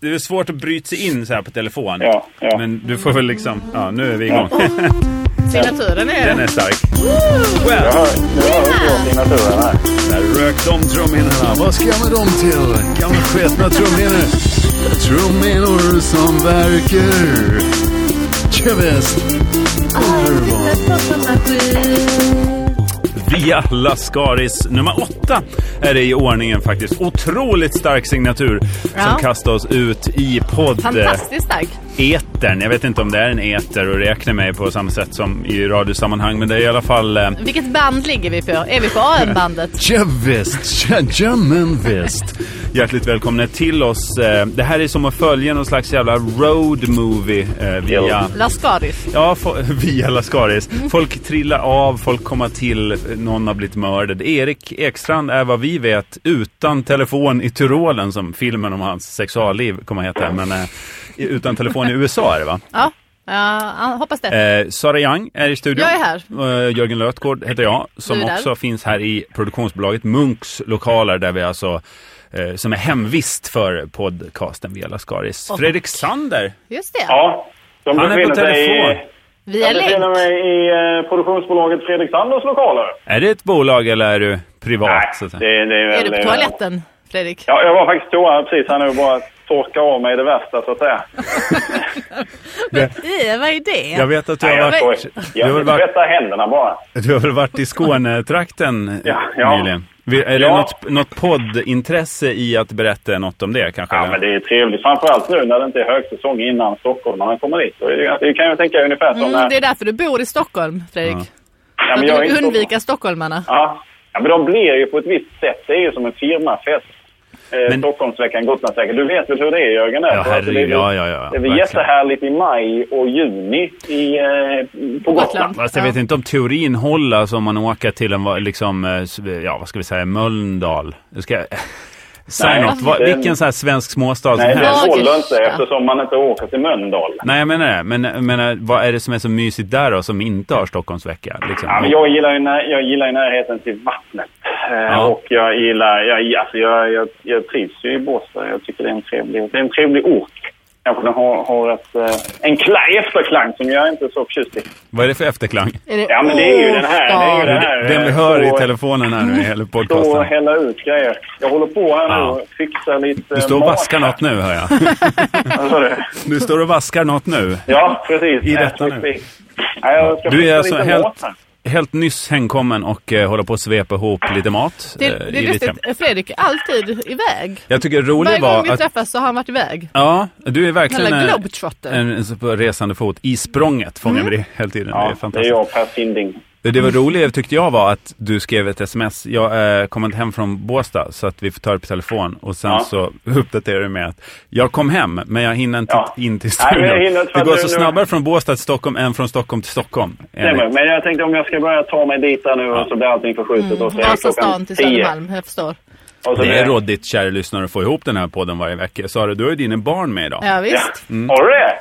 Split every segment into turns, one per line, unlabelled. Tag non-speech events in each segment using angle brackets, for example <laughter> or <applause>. det är svårt att bryta sig in så här på telefon.
Ja, ja.
Men du får väl liksom... Ja, nu är vi igång.
Signaturen
<laughs>
är...
Den är stark. Well,
Jag hör, jag hör ju signaturen här.
där rök de trumhinnorna.
Vad ska man dem till? Gamla sketna trumhinnor. Trumhinnor som verkar. Kevest.
Via Lascaris nummer åtta är det i ordningen faktiskt. Otroligt stark signatur
Ja.
som kastar oss ut i podd...
Fantastiskt stark.
etern. Jag vet inte om det är en eter och räkna med på samma sätt som i radiosammanhang. Men det är i alla fall... Eh,
Vilket band ligger vi på? Är vi på AM-bandet?
Kevest. Jammenvest.
hjärtligt välkomna till oss. Eh, det här är som att följa någon slags jävla road movie eh, via...
Lascaris.
Ja, fo- <laughs> via Lascaris. Folk trillar av, folk kommer till, eh, någon har blivit mördad. Erik Ekstrand är vad vi vet utan telefon i Tyrolen som filmen om hans sexualliv kommer att heta. Men eh, utan telefon i USA är det va?
Ja, ja, hoppas det.
Eh, Sara Young är i studion.
Jag är här.
Eh, Jörgen Lötgård heter jag, som
Du är där.
också finns här i produktionsbolaget Munks lokaler, där vi alltså eh, som är hemvist för podcasten Via Lascaris. Fredrik Sander!
Just det.
Ja, de
Han är på
befinner sig
telefon.
I,
Via
de befinner
länk.
sig i eh, produktionsbolaget Fredrik Sanders lokaler.
Är det ett bolag eller är du privat? så att säga?
det, det är väl...
Är
det
du på
väl-
toaletten, Fredrik?
Ja, jag var faktiskt på toa precis här nu och bara torka av mig det värsta så att säga.
I, vad är
Jag
det?
vet att du
Nej,
har
jag
varit,
skojar.
du har
Jag
väl
vill
varit,
tvätta händerna bara.
du har väl varit i Skånetrakten eh,
Ja, ja.
nyligen? Vi- Är det
Ja.
något, något poddintresse i att berätta något om det kanske?
Ja,
eller?
men det är trevligt. Framförallt nu när det inte är högsäsong innan stockholmarna kommer dit. Och Det det kan jag tänka ungefär som när...
Mm, det är därför du bor i Stockholm,
Ja.
Fredrik.
Ja,
För
men
att
jag är
du vill
inte-
undvika stockholmarna.
Ja. ja, men de blir ju på ett visst sätt. Det är ju som en firmafest. Eh,
Men-
Stockholmsveckan, Gotlandsveckan. Du vet väl hur det är Jörgen? Alltså,
Ja, herregud.
det är väl-
Ja, ja, ja.
Det är
Verkligen.
väl jättehärligt i maj och juni i, eh, på Gotland.
Gotland.
Fast jag
Ja.
vet inte om teorin håller alltså, om man åker till en, va- liksom, eh, s- ja vad ska vi säga, Mölndal. Jag ska <laughs> säga
Nej,
något. Va,
den-
vilken så här svensk småstad som
Nej, det
helst.
Lagers,
håller inte
ja.
eftersom man inte åker till Mölndal.
Nej, jag menar det. Men, jag menar, vad är det som är så mysigt där då, som inte har Stockholmsvecka? Liksom?
Ja, men jag, gillar ju när, jag gillar ju närheten till vattnet. Eh,
Ja.
Och jag gillar... Jag, alltså jag, jag, jag trivs ju i Båstad. Jag tycker det är en trevlig, det är en trevlig ort. Kanske den har, har ett, eh, en kla- efterklang som jag inte är så förtjust i.
Vad är det för efterklang?
Är det
Ja, men det är ju den här, det är ju
Det
den
Åstad?
här.
är
eh,
Den vi hör i
så-
telefonen här nu i hela
Stå och
podcasten.
hälla ut grejer. Jag håller på här nu
Ja.
och fixar lite
Du står och vaskar
<laughs>
något nu, hör jag. Du står och vaskar något nu.
Ja, precis.
I detta nu.
Precis. Ja, jag ska
Du är
fixa
alltså
lite mat
helt,
här.
helt nyss hemkommen och eh, håller på att svepa ihop lite mat
Det,
eh,
det
i
är
ditt hem.
liksom-
lustigt. Fredrik är alltid iväg.
Jag tycker det roliga
Varje gång
var
vi
att
träffas så har han varit iväg.
Ja, du är verkligen
Eller
en,
globetrotter. Mm.
en, en så på resande fot. I språnget fångar vi det hela tiden. det är
Ja, det är
fantastiskt.
jag och Per Sinding.
Det, var roligt tyckte jag var att du skrev ett sms. Jag eh, kom inte hem från Båstad så att vi får ta det på telefon. Och sen
Ja.
så uppdaterade du med att jag kom hem men jag hinner inte
Ja.
in till
Nej, men
studion.
jag hinner inte för
det
att
går så
du- nu-
snabbare från Båstad till Stockholm än från Stockholm till Stockholm.
Stämmer. Men jag tänkte om jag ska börja ta mig dit där nu och så blir allting förskjutet. Och så är det klockan
Vasastan Mm. till
tio.
Södermalm, jag förstår.
Och så
Det
blir-
är rådigt, kära lyssnare, att få ihop den här podden varje vecka. Sara, du har ju dina barn med idag.
Ja,
Ja.
visst.
Mm.
Har du det?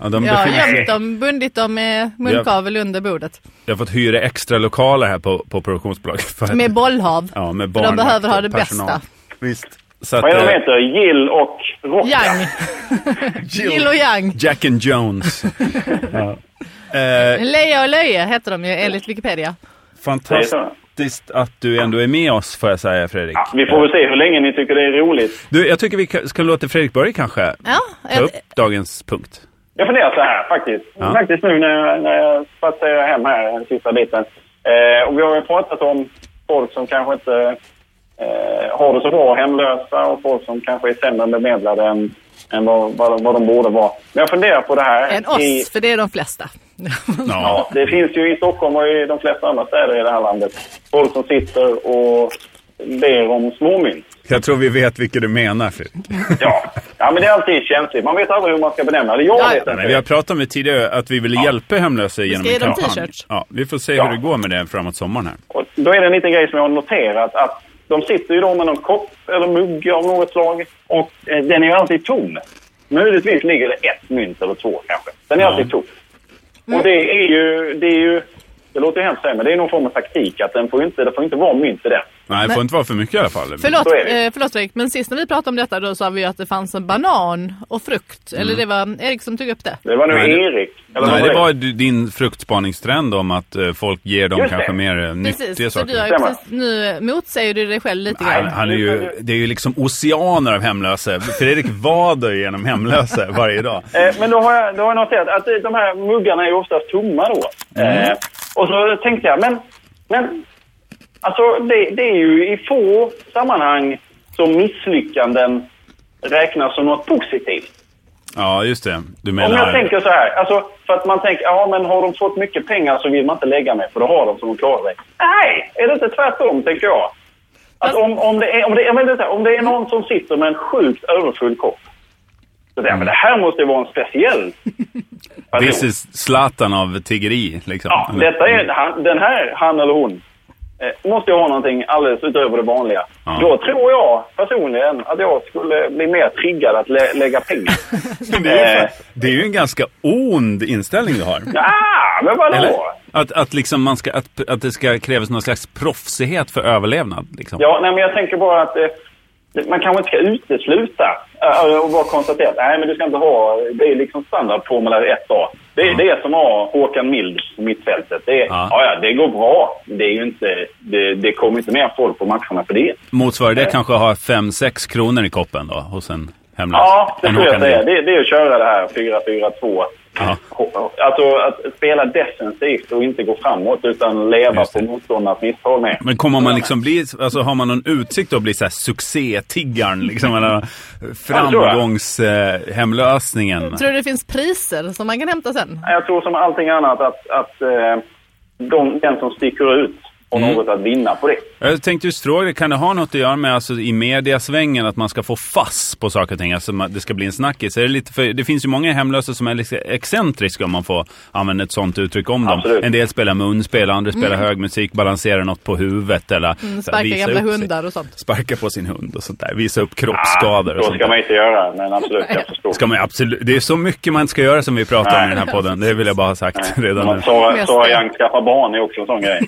Ja, de
Jag har
befinner sig-
gömt dem, bundit dem med munkavel under bordet.
Jag har fått hyra extra lokaler här på, på produktionsbolaget. För att-
Med bollhav.
Ja, med
För
barn.
de behöver ha det
personal.
bästa.
Visst. Så att,
Vad är de
eh,
heter? Gill och Rock.
Yang. Jill och Yang.
Jack and
<laughs>
Jones. eh,
Leja och Löje heter de ju enligt Wikipedia.
fantastiskt att du ändå är med oss, får jag säga, Fredrik.
Vi får väl se hur länge ni tycker det är roligt.
Du, jag tycker vi ka- ska låta Fredrik börja kanske
Ja,
ta
ett-
upp dagens punkt.
Jag funderar så här faktiskt.
Ja.
Faktiskt nu när jag, när jag spatserar hem här den sista biten. Eh, och vi har ju pratat om folk som kanske inte eh, har det så bra, hemlösa och folk som kanske är sämre bemedlade än, än vad, vad, vad de borde vara. Men jag funderar på det här.
En
I,
oss, för det är de flesta.
Ja.
det finns ju i Stockholm och i de flesta andra städer i det här landet folk som sitter och ber om
<laughs>
småmynt.
Jag tror vi vet vilket du menar, Fredrik.
Ja. ja, men det är alltid känsligt. Man vet aldrig hur man ska benämna det. Jag
Ja,
vet
ja.
Men vi
inte.
har pratat om det tidigare, att vi ville hjälpa hemlösa genom
ge
en
dem
kampanj.
t-shirts.
Ja, vi får se
Ja.
hur det går med det framåt sommaren här.
Och då är det en liten grej som jag har noterat att de sitter ju då med någon kopp eller mugg av något slag och eh, den är ju alltid tom. Möjligtvis ligger det ett mynt eller två kanske. Den är
Ja.
alltid tom. Och det är ju, det är ju, det låter ju hemskt att säga, men det är någon form av taktik att den får ju inte, det får inte vara mynt i den.
Nej, det får inte vara för mycket i alla fall.
<laughs> Förlåt,
Så är det.
eh, förlåt Erik, men sist när vi pratade om detta då sa vi ju att det fanns en banan och frukt.
Mm.
Eller det var Erik som tog upp det.
Det var nu
Nej, det-
Erik. Eller
Nej,
vad
det var ju din fruktspaningstrend om att eh, folk ger dem
Just det.
kanske mer eh, nyttiga
Precis, så du har
saker.
ju
Stämmer.
precis, nu motsäger du dig själv lite
Han,
grann.
han är ju, det är ju liksom oceaner av hemlösa. Fredrik vader genom hemlösa varje dag.
Eh, men då har, jag, då har jag noterat att eh, de här muggarna är ju oftast tomma då. Eh, och så tänkte jag, men, men alltså det, det är ju i få sammanhang som misslyckanden räknas som något positivt.
Ja, just det. Du menar...
Om jag tänker så här, alltså för att man tänker, ja men har de fått mycket pengar så vill man inte lägga mig för då har de som de klarar sig. Nej, är det inte tvärtom tänker jag. Att om, om, det är, om, det, jag menar, så här, om det är någon som sitter med en sjukt överfull kopp. Så där, men det här måste ju vara en
<laughs>
speciell person.
This is Zlatan av tiggeri, liksom.
Ja,
Eller-
detta är, han, den här, han eller hon, eh, måste ju ha någonting alldeles utöver det vanliga.
Ja.
Då tror jag personligen att jag skulle bli mer triggad att lä- lägga
<laughs>
pengar.
<laughs> Det är, ju, det är ju en ganska ond inställning du har.
ah, men vadå?
Eller? Att, att, liksom man ska, att, att det ska krävas någon slags proffsighet för överlevnad. Liksom.
Ja, nej, men jag tänker bara att eh, det- man kanske inte ska utesluta eh, och bara konstatera att nej, men du ska inte ha, det är liksom standard formulär 1A. Det är det är som har Håkan Mild på mittfältet. Det, är-
Ja.
ja. Ja, det går bra. Det, är ju inte, det, det kommer inte mer folk på matcherna för det.
Motsvarar det kanske att ha 5-6 kronor i koppen då, hos en hemlös?
Ja, det
En
tror jag
Håkan
det är.
Lind.
Det, det är att köra det här 4-4-2.
Ja.
Alltså att spela defensivt och inte gå framåt utan leva
Just det.
på motståndarnas misstag med.
Men kommer man liksom bli, alltså har man någon utsikt att bli så här succétiggaren liksom? Eller
tror jag.
framgångshemlösningen?
Tror du det finns priser som man kan hämta sen?
Jag tror som allting annat att, att eh, de, den som sticker ut har
Mm.
något att vinna på det.
Jag tänkte just fråga dig, kan det ha något att göra med alltså, i mediasvängen att man ska få fass på saker och ting? Alltså man- det ska bli en snackis. Är det, lite för, det finns ju många hemlösa som är lite excentriska om man får använda ett sånt uttryck om dem.
Absolut.
En del spelar munspel, andra spelar hög musik, balanserar något på huvudet eller mm,
Sparka gamla hundar och sånt.
Sparka på sin hund och sånt där. Visa upp kroppsskador
Ah,
och
så
sånt
ska
där.
man inte göra, men absolut,
<laughs>
jag förstår.
Ska man ju absolut, det är så mycket man inte ska göra som vi pratar om
Nej.
i
Alltså-
den här podden. Det vill jag bara ha sagt redan nu.
Man- Sara
Mest
Sara
det.
Young skaffa barn är också en sån
<laughs>
grej.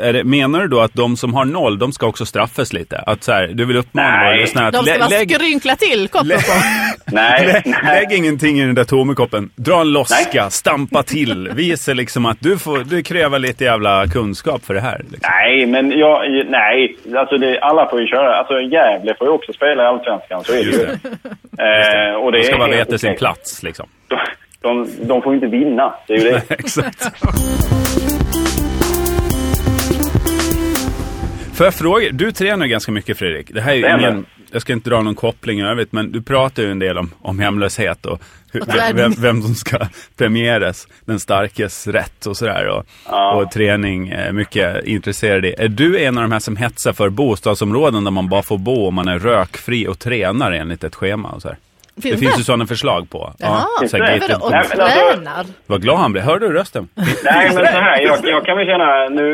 Är det, menar du då att de som har noll, de ska också straffas lite? Att så här, du vill uppmana
Nej.
våra lyssnare att
De
lä-
ska bara
lägg-
skrynkla
<laughs>
till koppen på.
Nej,
Lä-
nej.
Lägg ingenting i den där tomekoppen. Dra en loska,
Nej.
stampa till. Visa liksom att du, får, du kräver lite jävla kunskap för det här. Liksom.
Nej, men jag, nej, alltså det, alla får ju köra. Alltså Gävle får ju också spela i Allsvenskan, så är det ju.
Just det.
Eh, och det
Man ska
är
bara
helt
veta sin
okej.
plats liksom.
De, de, de får ju inte vinna, det är ju det.
<laughs> Exakt. Får jag fråga, du tränar ju ganska mycket Fredrik. Det här är ju
Stämmer.
ingen, jag ska inte dra någon koppling i övrigt, men du pratar ju en del om, om hemlöshet och hur,
Och träning.
vem, vem som ska premieras, den starkes rätt och sådär. Och, och träning, eh, mycket intresserad i. Är du en av de här som hetsar för bostadsområden där man bara får bo om man är rökfri och tränar enligt ett schema? Och så här?
Finns
det finns
det?
ju sådana förslag på.
Jaha,
så
Nej,
här,
Vadå, och
Nej, men alltså-
tränar?
Vad glad han blev. Hörde du rösten?
Nej, men så här, jag, jag kan väl känna, nu,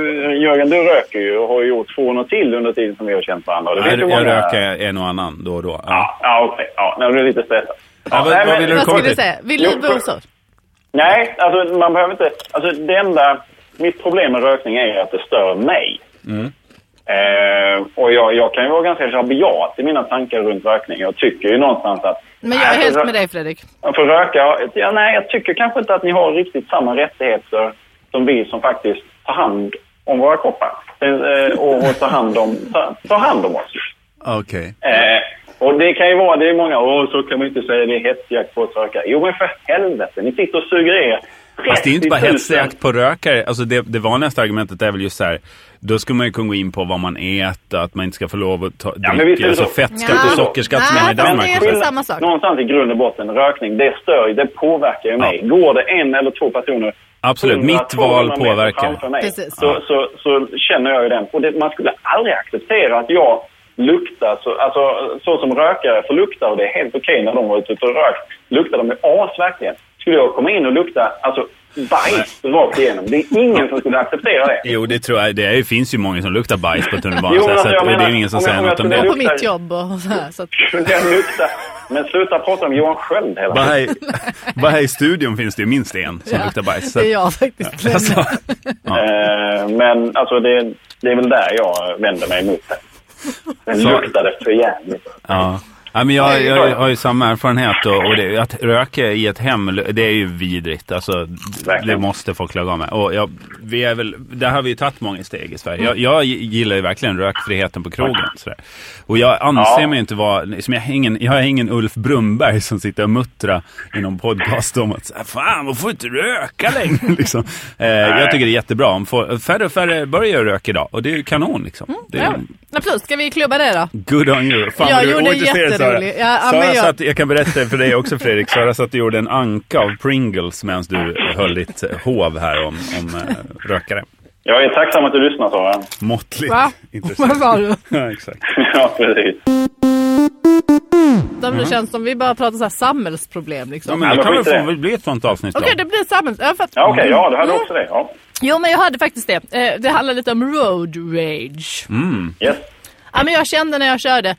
Jörgen du röker ju och har ju gjort 200 till under tiden som vi har känt varandra. och Det
Nej,
vet du
jag,
många-
röker en och annan då och då. Ja.
Ja, ja okej. Ja, nej, du är lite stressad.
Ja, vad-
nej,
vad vill du
Vad
komma
skulle
till?
du säga? Vill
Jo,
du bo
för-
så?
Nej, alltså man behöver inte... Alltså det enda... Mitt problem med rökning är att det stör mig.
Mm.
Eh, och jag, jag kan ju vara ganska rabiat i mina tankar runt rökning. Jag tycker ju någonstans att...
Men jag
Nej,
är
alltså-
helt
för-
med dig Fredrik.
För röka, ja, nej jag tycker kanske inte att ni har riktigt samma rättigheter som vi som faktiskt tar hand om våra koppar. Eh, och, och tar hand om, tar, tar hand om oss.
Ah,
Okej.
Eh, och det kan ju vara, det är många, åh så kan man inte säga, det är hetsjakt på att röka. Jo men för helvete, ni sitter och suger er.
Fast det är ju inte bara
30 000.
hetsjakt på rökare. Alltså det, det vanligaste argumentet är väl just så här. Då ska man ju kunna gå in på vad man äter, att man inte ska få lov att ta,
men visst är
dricka.
det
Alltså
så.
fettskatt
Ja.
och sockerskatt som man har i
Nej, men det
Danmark.
är-
och så.
inte samma sak.
Någonstans i grund och botten, rökning, det stör ju, det påverkar ju mig. Går det en eller två personer
Absolut,
100,
mitt val
200 meter
påverkar.
framför Mig,
Precis.
så, så, så känner jag ju den. Och det, man skulle aldrig acceptera att jag luktar så, alltså, så som rökare får lukta och det är helt okej när de var ute och rökt. Luktade de med as verkligen. Skulle jag komma in och lukta, alltså bajs rakt igenom. Det är ingen som skulle
<laughs>
acceptera det.
Jo, det tror jag. Det är, finns ju många som luktar bajs på tunnelbanan.
Jo,
så
men
att,
jag
och det är
menar,
ju ingen som
om jag-
säger
om jag
något om
skulle
det.
På
luktar
mitt
ju.
jobb och så här. Så att,
Den luktar. Men sluta prata om Johan Sköld hela
Bara
tiden.
här, i- <laughs> bara här i studion finns det ju minst en som luktar bajs. <laughs> Så,
det är
att-
jag
<laughs>
faktiskt.
alltså,
Eh, Men alltså det, det är väl där jag vänder mig emot det. Den
Så-
luktade för jävligt.
ja. Ja, men jag, jag har ju samma erfarenhet och, och det, att röka i ett hem, det är ju vidrigt. Alltså, det
Verkligen.
måste folk laga av med. Och jag, vi är väl, där har vi ju tagit många steg i Sverige. Jag, jag gillar ju verkligen rökfriheten på krogen. Sådär. Och jag anser
Ja.
mig inte vara, som jag, är ingen, jag är ingen Ulf Brumberg som sitter och muttrar i någon podcast om att så här, fan, man får inte röka längre. <laughs> liksom. eh, jag tycker det är jättebra. Om få- färre och färre börjar röka idag och det är ju kanon. Liksom.
Mm,
det är,
Ja. Ja, precis. Ska vi klubba det då?
Good on you. Fan
Jag
vad du
gjorde
är ointresserad Sara.
jätterolig. Ja, ja,
Sara
men jag-
satt, jag kan berätta för dig också Fredrik. Sara satt och gjorde en anka av Pringles medan du höll ditt eh, hov här om, om eh, rökare.
Jag är tacksam att du lyssnar, Sara.
Måttligt
Va? <laughs> Vad
intressant.
var du?
ja, exakt.
<laughs> Ja, precis.
Det känns som vi bara pratar så här samhällsproblem
Mm.
liksom.
Ja, men
Ja,
det kan väl
men skit i
få
det.
väl bli ett sånt avsnitt
Okej,
då.
det blir samhälls... Ja, för att...
Ja, okej. ja, du hade också det. Ja.
Jo, men jag hade faktiskt det. Eh, Det handlar lite om road rage.
Yes.
Ja, men jag kände när jag körde,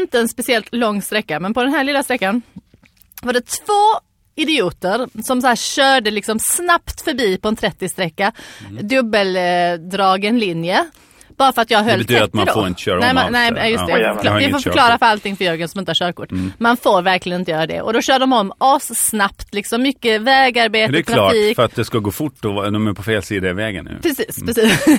inte en speciellt lång sträcka, men på den här lilla sträckan var det två idioter som så här körde liksom snabbt förbi på en 30-sträcka,
Mm.
dubbeldragen linje. Bara för att jag
Det
höll
betyder
30
att man
då.
får inte köra
nej,
om
man,
allt
Nej,
där.
nej, just det.
Ja.
Jag
Oj, jävlar.
får
Jag har
förklara- Vi
inget
får förklara
körkort. Mm.
för allting för Jörgen som inte har körkort. Man får verkligen inte göra det. Och då kör de om assnabbt, liksom mycket vägarbete,
Det är klart,
trafik.
för att det ska gå fort och vara- de är på fel sida i vägen nu.
Precis, precis. <laughs>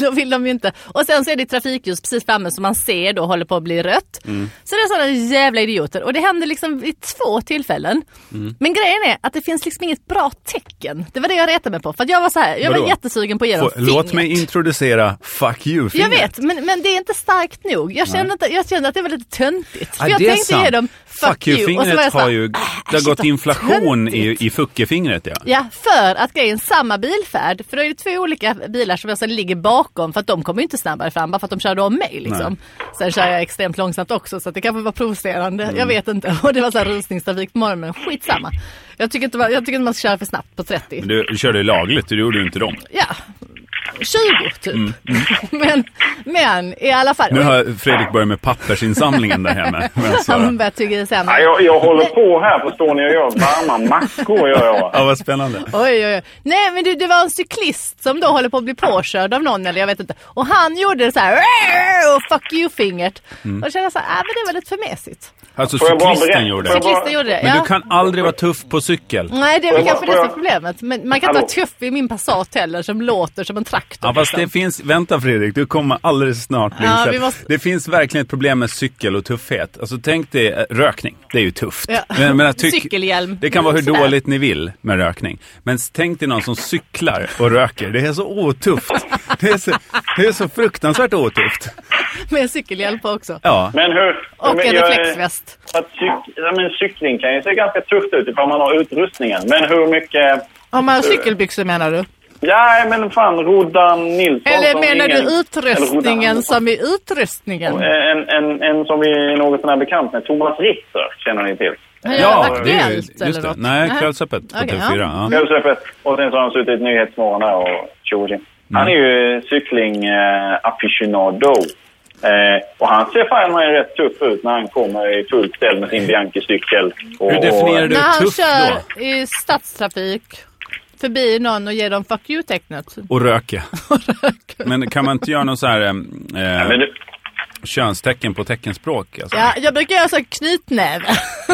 då vill de ju inte. Och sen så är det trafikljus precis framme som man ser då håller på att bli rött.
Mm.
Så det är sådana jävla idioter. Och det händer liksom vid två tillfällen.
Mm.
Men grejen är att det finns liksom inget bra tecken. Det var det jag retade mig på. För att jag var så här, jag
Vadå?
var jättesugen på att ge dem
Få, låt
fingret.
mig introducera Fuck you
Jag
fingret.
vet, men, men det är inte starkt nog. Jag kände, inte, jag kände att det var lite töntigt. För
Ja,
jag
det är
tänkte
sant.
ge dem fuck, you. Och så var
you-fingret
jag så
har
här,
ju,
"Ah,
det har
shit,
gått
vad
inflation i,
töntigt."
i fuckefingret ja.
Ja, för att grejen samma bilfärd, för då är det två olika bilar som jag sen ligger bakom för att de kommer ju inte snabbare fram bara för att de körde om mig liksom. Sen kör jag extremt långsamt också så att det kanske var provocerande,
Mm.
jag vet inte. <laughs> Och det var så här rusningstrafik på morgonen, skitsamma. Jag tycker inte man, jag tycker inte man ska köra för snabbt på 30.
Men Du körde ju lagligt, du gjorde ju inte dem.
Ja, 20 typ. <laughs> men, men i alla fall.
Mm. Nu har Fredrik börjat med pappersinsamlingen där hemma. Alltså, Men så-
<laughs> Han börjar tugga i sig en-
Ja, jag, jag håller på här, förstår ni. och gör varma mackor, gör jag.
Ja, vad spännande.
Oj, oj, oj. Nej, men du, det var en cyklist som då håller på att bli påkörd av någon eller jag vet inte. Och han gjorde det så här "Rar!" och fuck you-fingert.
Mm.
Och kände så här, äh, men det var lite för mesigt.
Alltså
Får jag bara
cyklisten
berätta-
gjorde
får jag
det.
bara-
Cyklisten gjorde det,
Men
ja. Mm.
du kan aldrig vara tuff på cykel.
Nej, det är väl
Får jag
kanske
bara-
det
får
som är
jag-
problemet. Men man kan
Hallå?
inte vara tuff i min Passat heller som låter som en traktor.
Ja, fast det
liksom.
finns, vänta Fredrik, du kommer alldeles snart bli
Ja,
ja,
vi måste-
Det finns verkligen ett problem med cykel och tuffhet. Alltså tänk dig, eh, rökning, det är ju tufft.
Ja.
jag tyck-
Cykelhjälm.
Det kan vara hur
Sådär.
dåligt ni vill med rökning. Men s- tänk dig någon som cyklar och röker, det är så otufft. Det är så, det är så fruktansvärt otufft.
Med en cykelhjälp på också.
Ja.
Men hur...
Och
men
en
jag-
reflexväst.
för Att cyk, ja, men cykling kan ju se ganska tufft ut ifall man har utrustningen. Men hur mycket...
Om man har cykelbyxor menar du?
Ja, men fan, Rodan Nilsson...
Eller
som
menar
ingen- Eh,
du
eller Rodan-
utrustningen som är utrustningen?
En, en, en som vi är något sån här bekant med, Thomas Ritzer, känner ni till.
Han gör Aktuellt
just
eller något?
Nej,
Nej.
Kvällsöppet på
Okej,
TV4. Ja.
ja.
Kvällsöppet. Och sen så har han suttit i Nyhetsmorgon där och tjo och tjim. Han är ju cykling eh, aficionado. Eh, och han ser fan mig rätt tuff ut när han kommer i fullt ställ med sin Bianchi-cykel. Och-
Hur definierar du
När han
tuff
kör
då?
i stadstrafik förbi någon och ger dem fuck you-tecknet.
Och
<laughs>
röka. Men kan man inte göra någon så här em, eh,
Men du,
könstecken på teckenspråk? Alltså?
Ja, jag brukar göra så här knytnäve.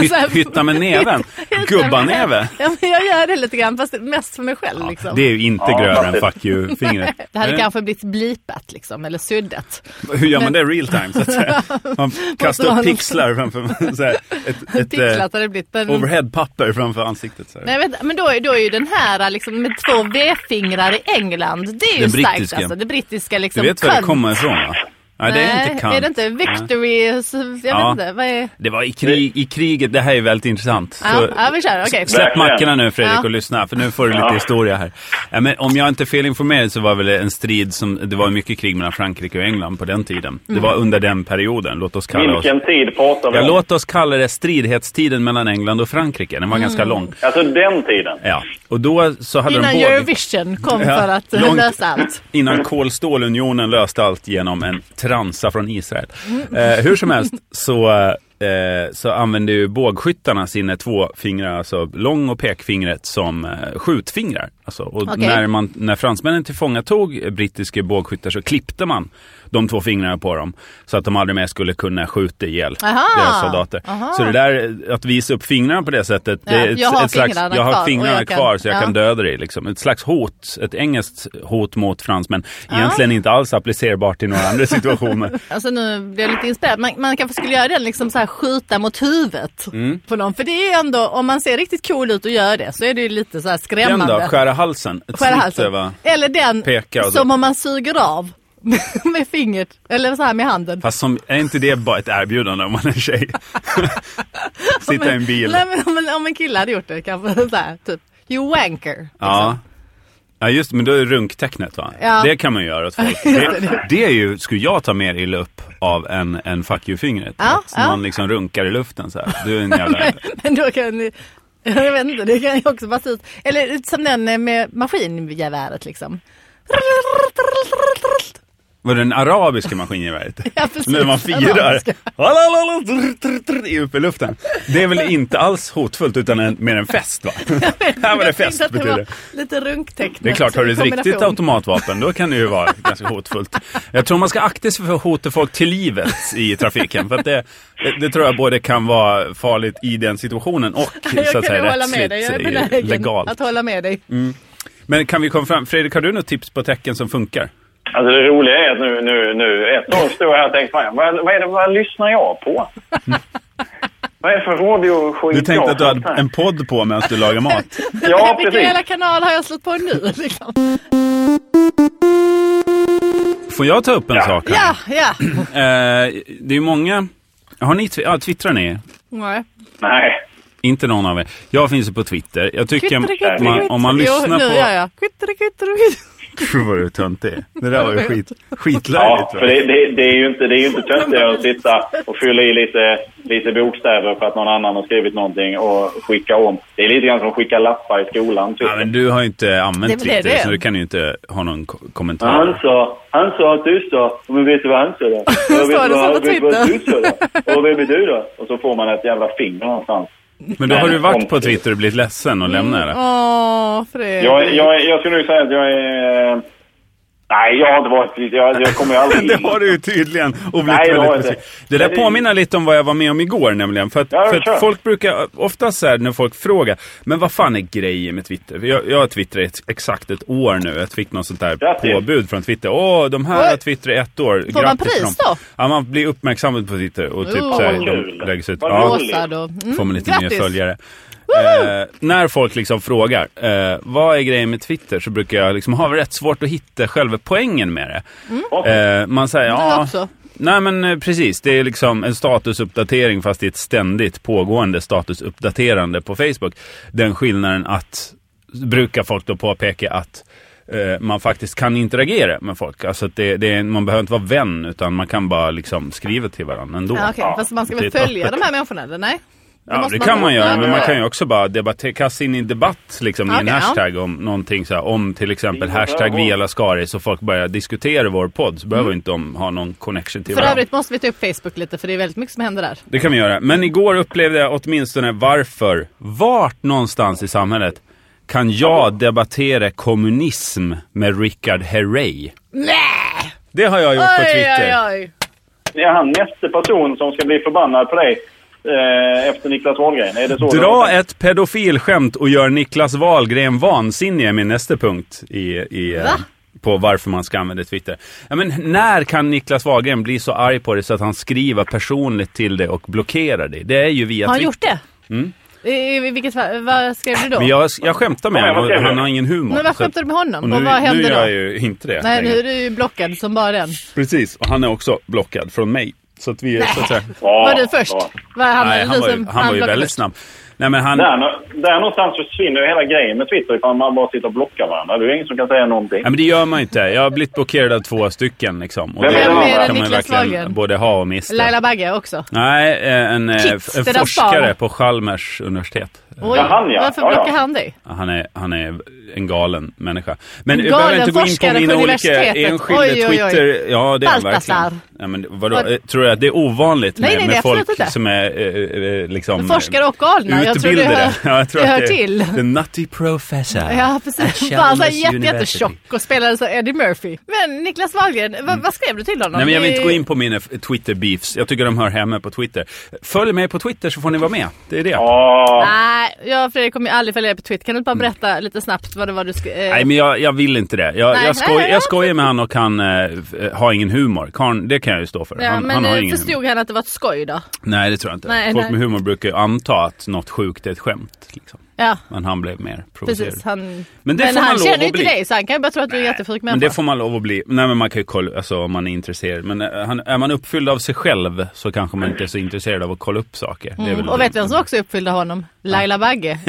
Så här-
Hytt, hytta
<laughs>
med näven?
Hytta med
Gubbanäve?
Ja, men jag gör det lite grann, fast mest för mig själv. liksom.
Det är ju inte
Ja,
grövre än
absolut.
fuck you-fingret.
Det hade
Eh,
kanske blivit blipat liksom, eller suddat.
Hur gör man det real time? Så att
<laughs>
säga? Man kastar
vara
upp
något-
pixlar framför <laughs> så här, ett, ett eh,
Pixlat hade det blivit. Men,
overheadpapper framför ansiktet. Så här.
typ. Mm. nej, vänta, men då, är- då är ju den här liksom, med två V-fingrar i England. Det är ju
Den
starkt
brittiska.
alltså. Det brittiska
Du
liksom.
vet var det
cunt.
kommer ifrån va? Nej, det är inte Kant.
Är det inte Victory? Jag
Ja.
vet inte. Vad är...
Det var i, krig, i kriget, det här är väldigt intressant.
Ja,
Så-
ja, vi kör. Okej.
Släpp
Verkligen.
mackorna nu Fredrik
Ja.
och lyssna, för nu får du lite
Ja.
historia här. Ja, men om jag inte är felinformerad så var väl det en strid som, det var mycket krig mellan Frankrike och England på den tiden. Det var under den perioden, låt oss kalla oss.
Vilken tid pratar vi
Ja,
om?
låt oss kalla det stridighetstiden mellan England och Frankrike. Den var ganska lång.
Alltså den tiden.
Ja, och då så hade
Innan
de båda...
Eurovision kom
Ja,
för att eh,
långt-
lösa allt.
Innan kolstålunionen löste allt genom en transa från Israel. Eh, hur som helst så, eh, så använde ju bågskyttarna sina två fingrar, alltså lång och pekfingret, som eh, skjutfingrar. Alltså, och
Okej.
när, man, när fransmännen tillfångatog brittiska bågskyttar så klippte man de två fingrarna på dem så att de aldrig mer skulle kunna skjuta ihjäl
Aha.
deras soldater.
Aha.
Så det där eh, att visa upp fingrarna på det sättet, det
Ja,
är ett,
jag har
ett slags,
fingrarna
jag
kvar
har
och
fingrarna
jag kan-
kvar så jag
ja.
kan döda dig. Liksom. Ett slags hot, ett engelskt hot mot fransmän. Egentligen inte alls applicerbart i några
<laughs>
andra situationer.
Alltså nu blev jag lite inspirerad. Man, man kanske skulle göra den liksom så här skjuta mot huvudet
Mm.
på någon. För det är ju ändå, om man ser riktigt cool ut och gör det så är det ju lite så här
Den
skrämmande.
då? Skära halsen? Ett
Skära
snitt
halsen.
över-
Eller den
Peka och så.
som om man suger av <laughs> med fingret. Eller så här med handen.
Fast som, är inte det bara ett erbjudande om man är
<laughs>
tjej? Sitta i en bil.
Nej, men liksom. om, en, om en kille hade gjort det kanske så här, typ. You wanker. <laughs>
Ja. Ja just det, men då är det runktecknet va?
Ja.
Det kan man göra åt
<laughs>
folk. Det, det är ju, skulle jag ta mer illa upp av än, än fuck you-fingret.
Ja,
Att
ja.
Man liksom runkar i luften så här. Du är en
<laughs>
jävla...
Men då kan ni, jag vet inte, det kan ju också bara se ut. Eller som den med maskingeväret liksom.
Var det den arabiska maskingeväret?
<laughs> Ja, precis.
När man firar.
Arabiska.
Alalala, trr, trr, trr, i Uppe i luften. Det är väl inte alls hotfullt utan en, mer en fest
<laughs>
va? <laughs> Här var det
Jag tänkte
fest
att
betyder
var
det.
Lite runktecknet.
Det är klart, har du ett riktigt
kombination.
automatvapen då kan det ju vara ganska hotfullt. Jag tror man ska akta sig för att hota folk till livet i trafiken. För att det, det, det tror jag både kan vara farligt i den situationen och så
<laughs> Jag
att
kan ju
säga
hålla med dig, jag är
rättsligt eh,
benägen
legalt.
att hålla med dig.
Men kan vi komma fram, Fredrik har du något tips på tecken som funkar?
Alltså det roliga är att nu, nu, nu ett år står jag här och tänker, fan, vad, vad, är det, vad lyssnar jag
<laughs>
på? vad är det för radioskit
Du tänkte
jag
att du hade
fattar?
en podd på medan du lagar
<laughs>
mat.
Ja,
Vilken
precis.
jävla kanal har jag slått på nu liksom?
Får jag ta upp en
Ja.
sak? här?
Ja, ja.
Eh, det är ju många... Har ni... twi- Ja, twittrar ni?
Nej.
Nej.
Inte någon av er. Jag finns ju på Twitter. Jag tycker
Kvitteri, kvitteri,
man, om man
kvitteri.
lyssnar
jo, Nu gör
<laughs> på...
jag. Kvitteri, kvitteri, kvitteri.
Fy vad du töntig är. Det där var ju skit, skitlärligt.
Ja, för det, det, det är ju inte, det är ju
<laughs>
inte töntigare att sitta och fylla i lite, lite bokstäver för att någon annan har skrivit någonting och skicka om. Det är lite grann som att skicka lappar i skolan. Typ.
Ja, men du har ju inte använt
Det är väl det
Twitter,
det är.
så du kan ju inte ha någon ko-
Han
kommentar.
sa, han sa att du sa, men vet du vad han sa
<laughs>
då? Jag
Sa
vet
det som
vad,
på
vet vad du
Twitter.
sa då? Och vem är du då? Och så får man ett jävla finger någonstans.
Men då har du varit
Om-
på Twitter och blivit ledsen och lämnat det.
Åh, Fredrik.
Jag, jag, jag skulle nog säga att jag är... eh, Nej, jag har inte varit... Jag, jag kommer ju
<laughs>
aldrig...
Det har du ju tydligen. Och blivit
Nej, det har jag
väldigt
inte.
besviken. det där
Men det-
påminner lite om vad jag var med om igår nämligen. För att,
Ja,
för
kör.
att folk brukar, ofta så här när folk frågar, men vad fan är grejen med Twitter? För Jag, jag har twittrat ett, exakt ett år nu. Jag fick något sånt där
Grattis.
påbud från Twitter. Åh, de här har
Oj.
twittrat i ett år.
Får man
Grattis till
pris
dem.
då?
Ja, man blir uppmärksammad på Twitter och typ
Oh.
så här,
Vad kul.
de läggs ut.
Vad
Ja.
roligt.
Åsa då. Mm.
Får man lite
Grattis.
mer följare. Eh, när folk liksom frågar eh, vad är grejen med Twitter så brukar jag liksom ha rätt svårt att hitta själva poängen med det.
Mm.
Eh, man säger ja,
också.
nej men eh, precis det är liksom en statusuppdatering fast det är ett ständigt pågående statusuppdaterande på Facebook. Den skillnaden att brukar folk då påpeka att eh, man faktiskt kan interagera med folk. Alltså att det, det är, man behöver inte vara vän utan man kan bara liksom skriva till varandra ändå.
Ja, okej. Fast man ska väl
Det är ett
följa de här människorna eller nej?
Ja,
måste
det
man
kan
ta
man göra,
upp
men
det.
man kan ju också bara debatte- kasta in i en debatt liksom, i en
Okej, ja.
hashtag om någonting så här, om till exempel
Det är
hashtag
bra.
vi alla Skaris och folk börjar diskutera vår podd så behöver inte de ha någon connection till
Mm. För
varandra.
övrigt måste vi ta upp Facebook lite för det är väldigt mycket som händer där.
Det kan vi göra, men igår upplevde jag åtminstone varför, vart någonstans i samhället kan jag debattera kommunism med Richard Herrey?
Nej!
Det har jag gjort på
Oj,
Twitter.
oj, oj.
Är han nästa person som ska bli förbannad på dig eh, efter Niklas Wahlgren? Är det så?
Dra ett pedofilskämt och gör Niklas Wahlgren vansinnig är min nästa punkt i, i, eh,
Va?
på varför man ska använda Twitter. Ja, men när kan Niklas Wahlgren bli så arg på det så att han skriver personligt till det och blockerar det? Det är ju via
Har han
Twitter.
gjort det? I, i vilket fall, vad skrev du då?
Mm. Men jag, jag skämtar med
Nej,
honom,
vad
och
kul.
han har ingen humor.
Men vad
så att-
skämtar du med honom?
och
Och,
nu,
vad
nu
hände
är
då?
jag ju inte det.
Nej, nu
längre.
är du ju blockad som bara den.
Precis, och han är också blockad från mig. Så att vi är så att
<laughs>
säga...
Ja,
var du först?
ja.
Var han,
Nej, han var ju, han var ju
blockade
väldigt
först?
snabb. Nej, men han...
Där, nå- där någonstans försvinner ju hela grejen med Twitter ifall man bara sitter och blockar varandra. Det är ju ingen som kan säga någonting.
Nej, men det gör man ju inte. Jag har blivit blockerad av två stycken. Liksom. Och
Vem är det? Vem är
kan
det?
man ju
Niklas
verkligen
Wahlgren?
både ha och mista.
Laila Bagge också.
Nej, eh, en, eh,
Kids,
en
det där
forskare
barnet.
på Chalmers universitet. Eh,
Oj,
Ja, han, ja.
varför
Ja, ja.
blockar han dig?
Han är, han är en galen människa. Men vi
Galen
behöver inte gå in på
forskare på
mina olika
universitetet.
enskilda
Oj, oj, oj.
Twitter... Ja, det är han
Baltasar.
verkligen. Ja, men vadå?
Vad-
Eh, Tror du att det är ovanligt
Nej,
med,
nej,
med
nej, absolut
folk
inte.
som är eh, eh, liksom...
Forskare och galna. Jag tror det
utbildade.
hör,
<laughs> Ja, jag tror
det
att
hör till.
The Nutty Professor.
Ja, precis.
At
Bara så här
Chalmers
jätte,
University.
jättetjock och spelade så Eddie Murphy. Men Niklas Wahlgren, vad- vad skrev du till honom?
Mm. Nej, men jag vill
Det-
inte gå in på mina f- Twitter-beefs. Jag tycker de hör hemma på Twitter. Följ mig på Twitter så får ni vara med. Det är det.
Ja,
Nej, jag och Fredrik kommer ju aldrig följa dig på Twitter. Kan du inte bara berätta lite snabbt vad det var du eh, skrev?
Mm. Nej, men jag, jag vill inte det. Jag,
Nej,
jag, skoj,
nej, nej.
jag skojar med han och han eh, f- har ingen humor. Karn, det kan jag ju stå för.
ja,
han,
men
han har
eh,
ingen humor.
förstod han att det var ett skoj då?
Nej, det tror jag inte.
Nej,
Folk
nej.
med humor brukar ju anta att något sjukt är ett skämt. Liksom.
Ja,
Men han blev mer provocerad.
precis. Han...
Men det
men
får man
han
lov
känner ju
att
inte
bli.
dig så han kan ju bara tro att du är en jättefrik människa.
Men det får man lov att bli. Nej men man kan ju kolla, alltså om man är intresserad. Men eh, han, är man uppfylld av sig själv så kanske man inte är så intresserad av att kolla upp saker. Det är väl
Mm. Och vet vem som också uppfyllde honom? Laila Bagge.
<laughs>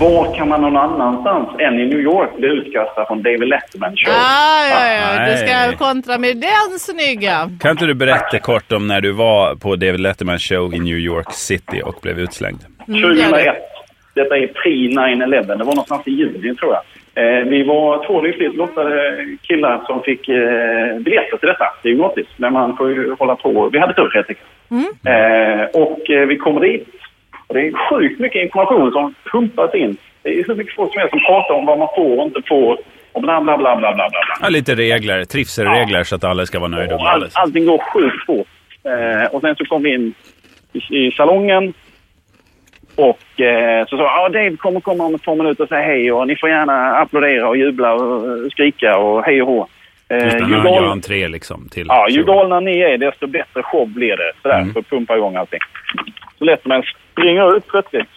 var kan man någon annanstans än i New York bli utkastad från David Letterman show?
Ah, ja, ja, du
Nej.
ska kontra med den snygga.
Kan inte du berätta kort om när du var på David Letterman show i New York City och blev utslängd?
2001. Detta är pre-9-11. Det var någonstans i juni, tror jag. Eh, vi var två lyckligt lottade killar som fick eh, biljetter till detta. Det är ju gratis, men man får ju hålla på. Vi hade tur, helt enkelt. Eh, och eh, vi kommer dit. Och det är sjukt mycket information som pumpas in. Det är hur mycket folk som helst som pratar om vad man får och inte får. Och bla, bla, bla, bla, bla, bla.
Ja, lite regler, trivselregler så att alla ska vara nöjda
Och
med
all,
alles.
allting går sjukt fort. Eh, och sen så kom vi in i, i salongen. Och eh, så sa jag, ah, Dave kommer komma om ett par minuter och säga hej och ni får gärna applådera och jubla och eh, skrika och hej och hå. Eh,
Just när
ju
han gör
gal-
entré liksom till
ja, ju
showen.
galna ni är desto bättre show blir det. Sådär,
Mm.
för att pumpa igång allting. Så lätt man springer ut plötsligt.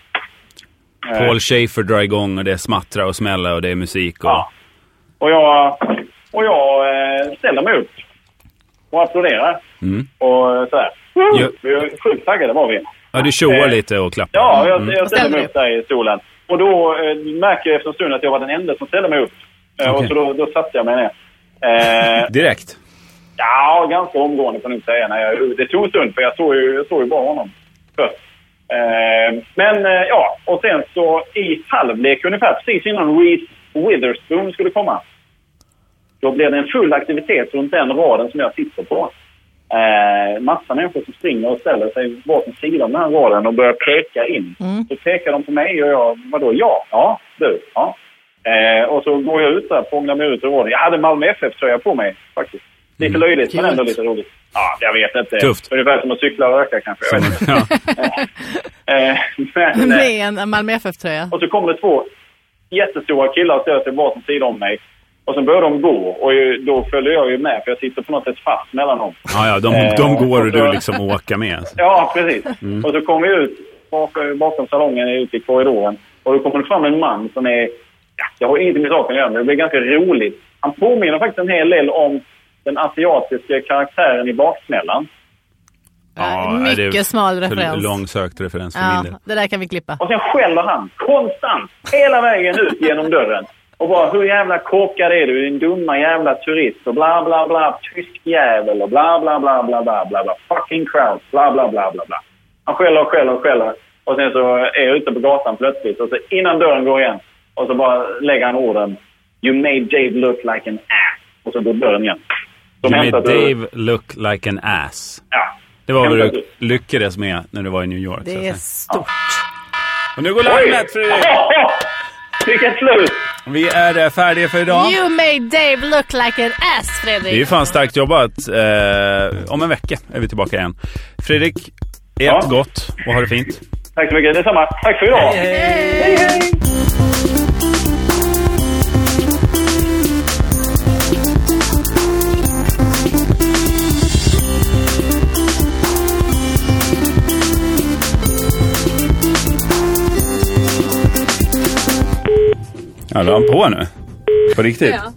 Paul Schaefer drar igång och det är smattra och smälla och det är musik och...
Ja. Och jag, och jag eh, ställer mig upp och applåderar.
Mm.
Och eh, sådär.
Jo.
Vi var sjukt taggade var vi.
Ja, du tjoar
Eh,
lite och klappar.
Ja, jag, jag
ställer
ställde mig
dig.
upp där i stolen. Och då eh, märker jag efter en stund att jag var den enda som ställde mig upp.
Okej.
Eh, Och så då, då satte jag mig ner. Eh,
Direkt.
ja, ganska omgående får jag nog säga. När jag, det tog en stund, för jag såg ju, jag såg ju bara honom först. Eh, men eh, ja, och sen så i halvlek ungefär, precis innan Reese Witherspoon skulle komma. Då blev det en full aktivitet runt den raden som jag sitter på. Eh, massa människor som springer och ställer sig bakom sidan av den här raden och börjar peka in. Så pekar de på mig och jag, vadå, ja, ja, du, ja. Eh, och så går jag ut där, prånglar mig ut ur raden. Jag hade Malmö FF-tröja på mig faktiskt. Lite löjligt, men ändå lite roligt. Ja, jag vet inte.
Tufft.
Ungefär som att cykla och röka kanske. Jag vet
<laughs>
inte.
Ja.
Eh, men, eh,
Med en Malmö FF-tröja.
och så kommer det två jättestora killar och ställer sig bakom sidan om mig. Och sen börjar de gå och ju, då följer jag ju med för jag sitter på något sätt fast mellan dem.
Ja, ja,
Eh.
de, de går och du liksom åker med.
Ja, precis. Och så kommer vi ut bakom, bakom salongen, ut i korridoren. Och då kommer det fram en man som är... Ja, jag har ingenting med saken att göra, men det blir ganska roligt. Han påminner faktiskt en hel del om den asiatiska karaktären i Baksmällan.
Ja,
Ja, mycket
det är
smal
för
referens.
Långsökt referens för
Ja,
min del.
det där kan vi klippa.
Och sen skäller han konstant hela vägen ut genom dörren. Och bara hur jävla korkad är du, din dumma jävla turist och bla bla bla, tysk jävel och bla bla bla bla bla bla bla, fucking crowd, bla bla bla bla bla. Han skäller och skäller och skäller och sen så är jag ute på gatan plötsligt och så innan dörren går igen och så bara lägger han orden You made Dave look like an ass. Och så går dörren igen.
You
De
made
hämtade-
Dave look like an ass.
Ja.
Det var vad
Hämtade-
du lyckades med när du var i New York. så att
Det
säga.
är stort.
Och nu går
Oj!
larmet Fredrik!
<laughs> Vilket slut!
Vi är eh, färdiga för idag.
You made Dave look like an ass, Fredrik.
Det är ju fan starkt jobbat. Eh, om en vecka är vi tillbaka igen. Fredrik, ät
Ja.
gott och ha det fint.
Tack så mycket, detsamma. Tack för idag!
Höll han på nu? På riktigt?
Ja.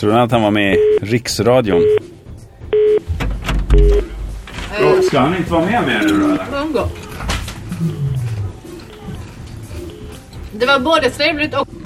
Tror han att han var med i Riksradion? Ska han inte vara med mer nu då eller?
Umgå. Det var både trevligt och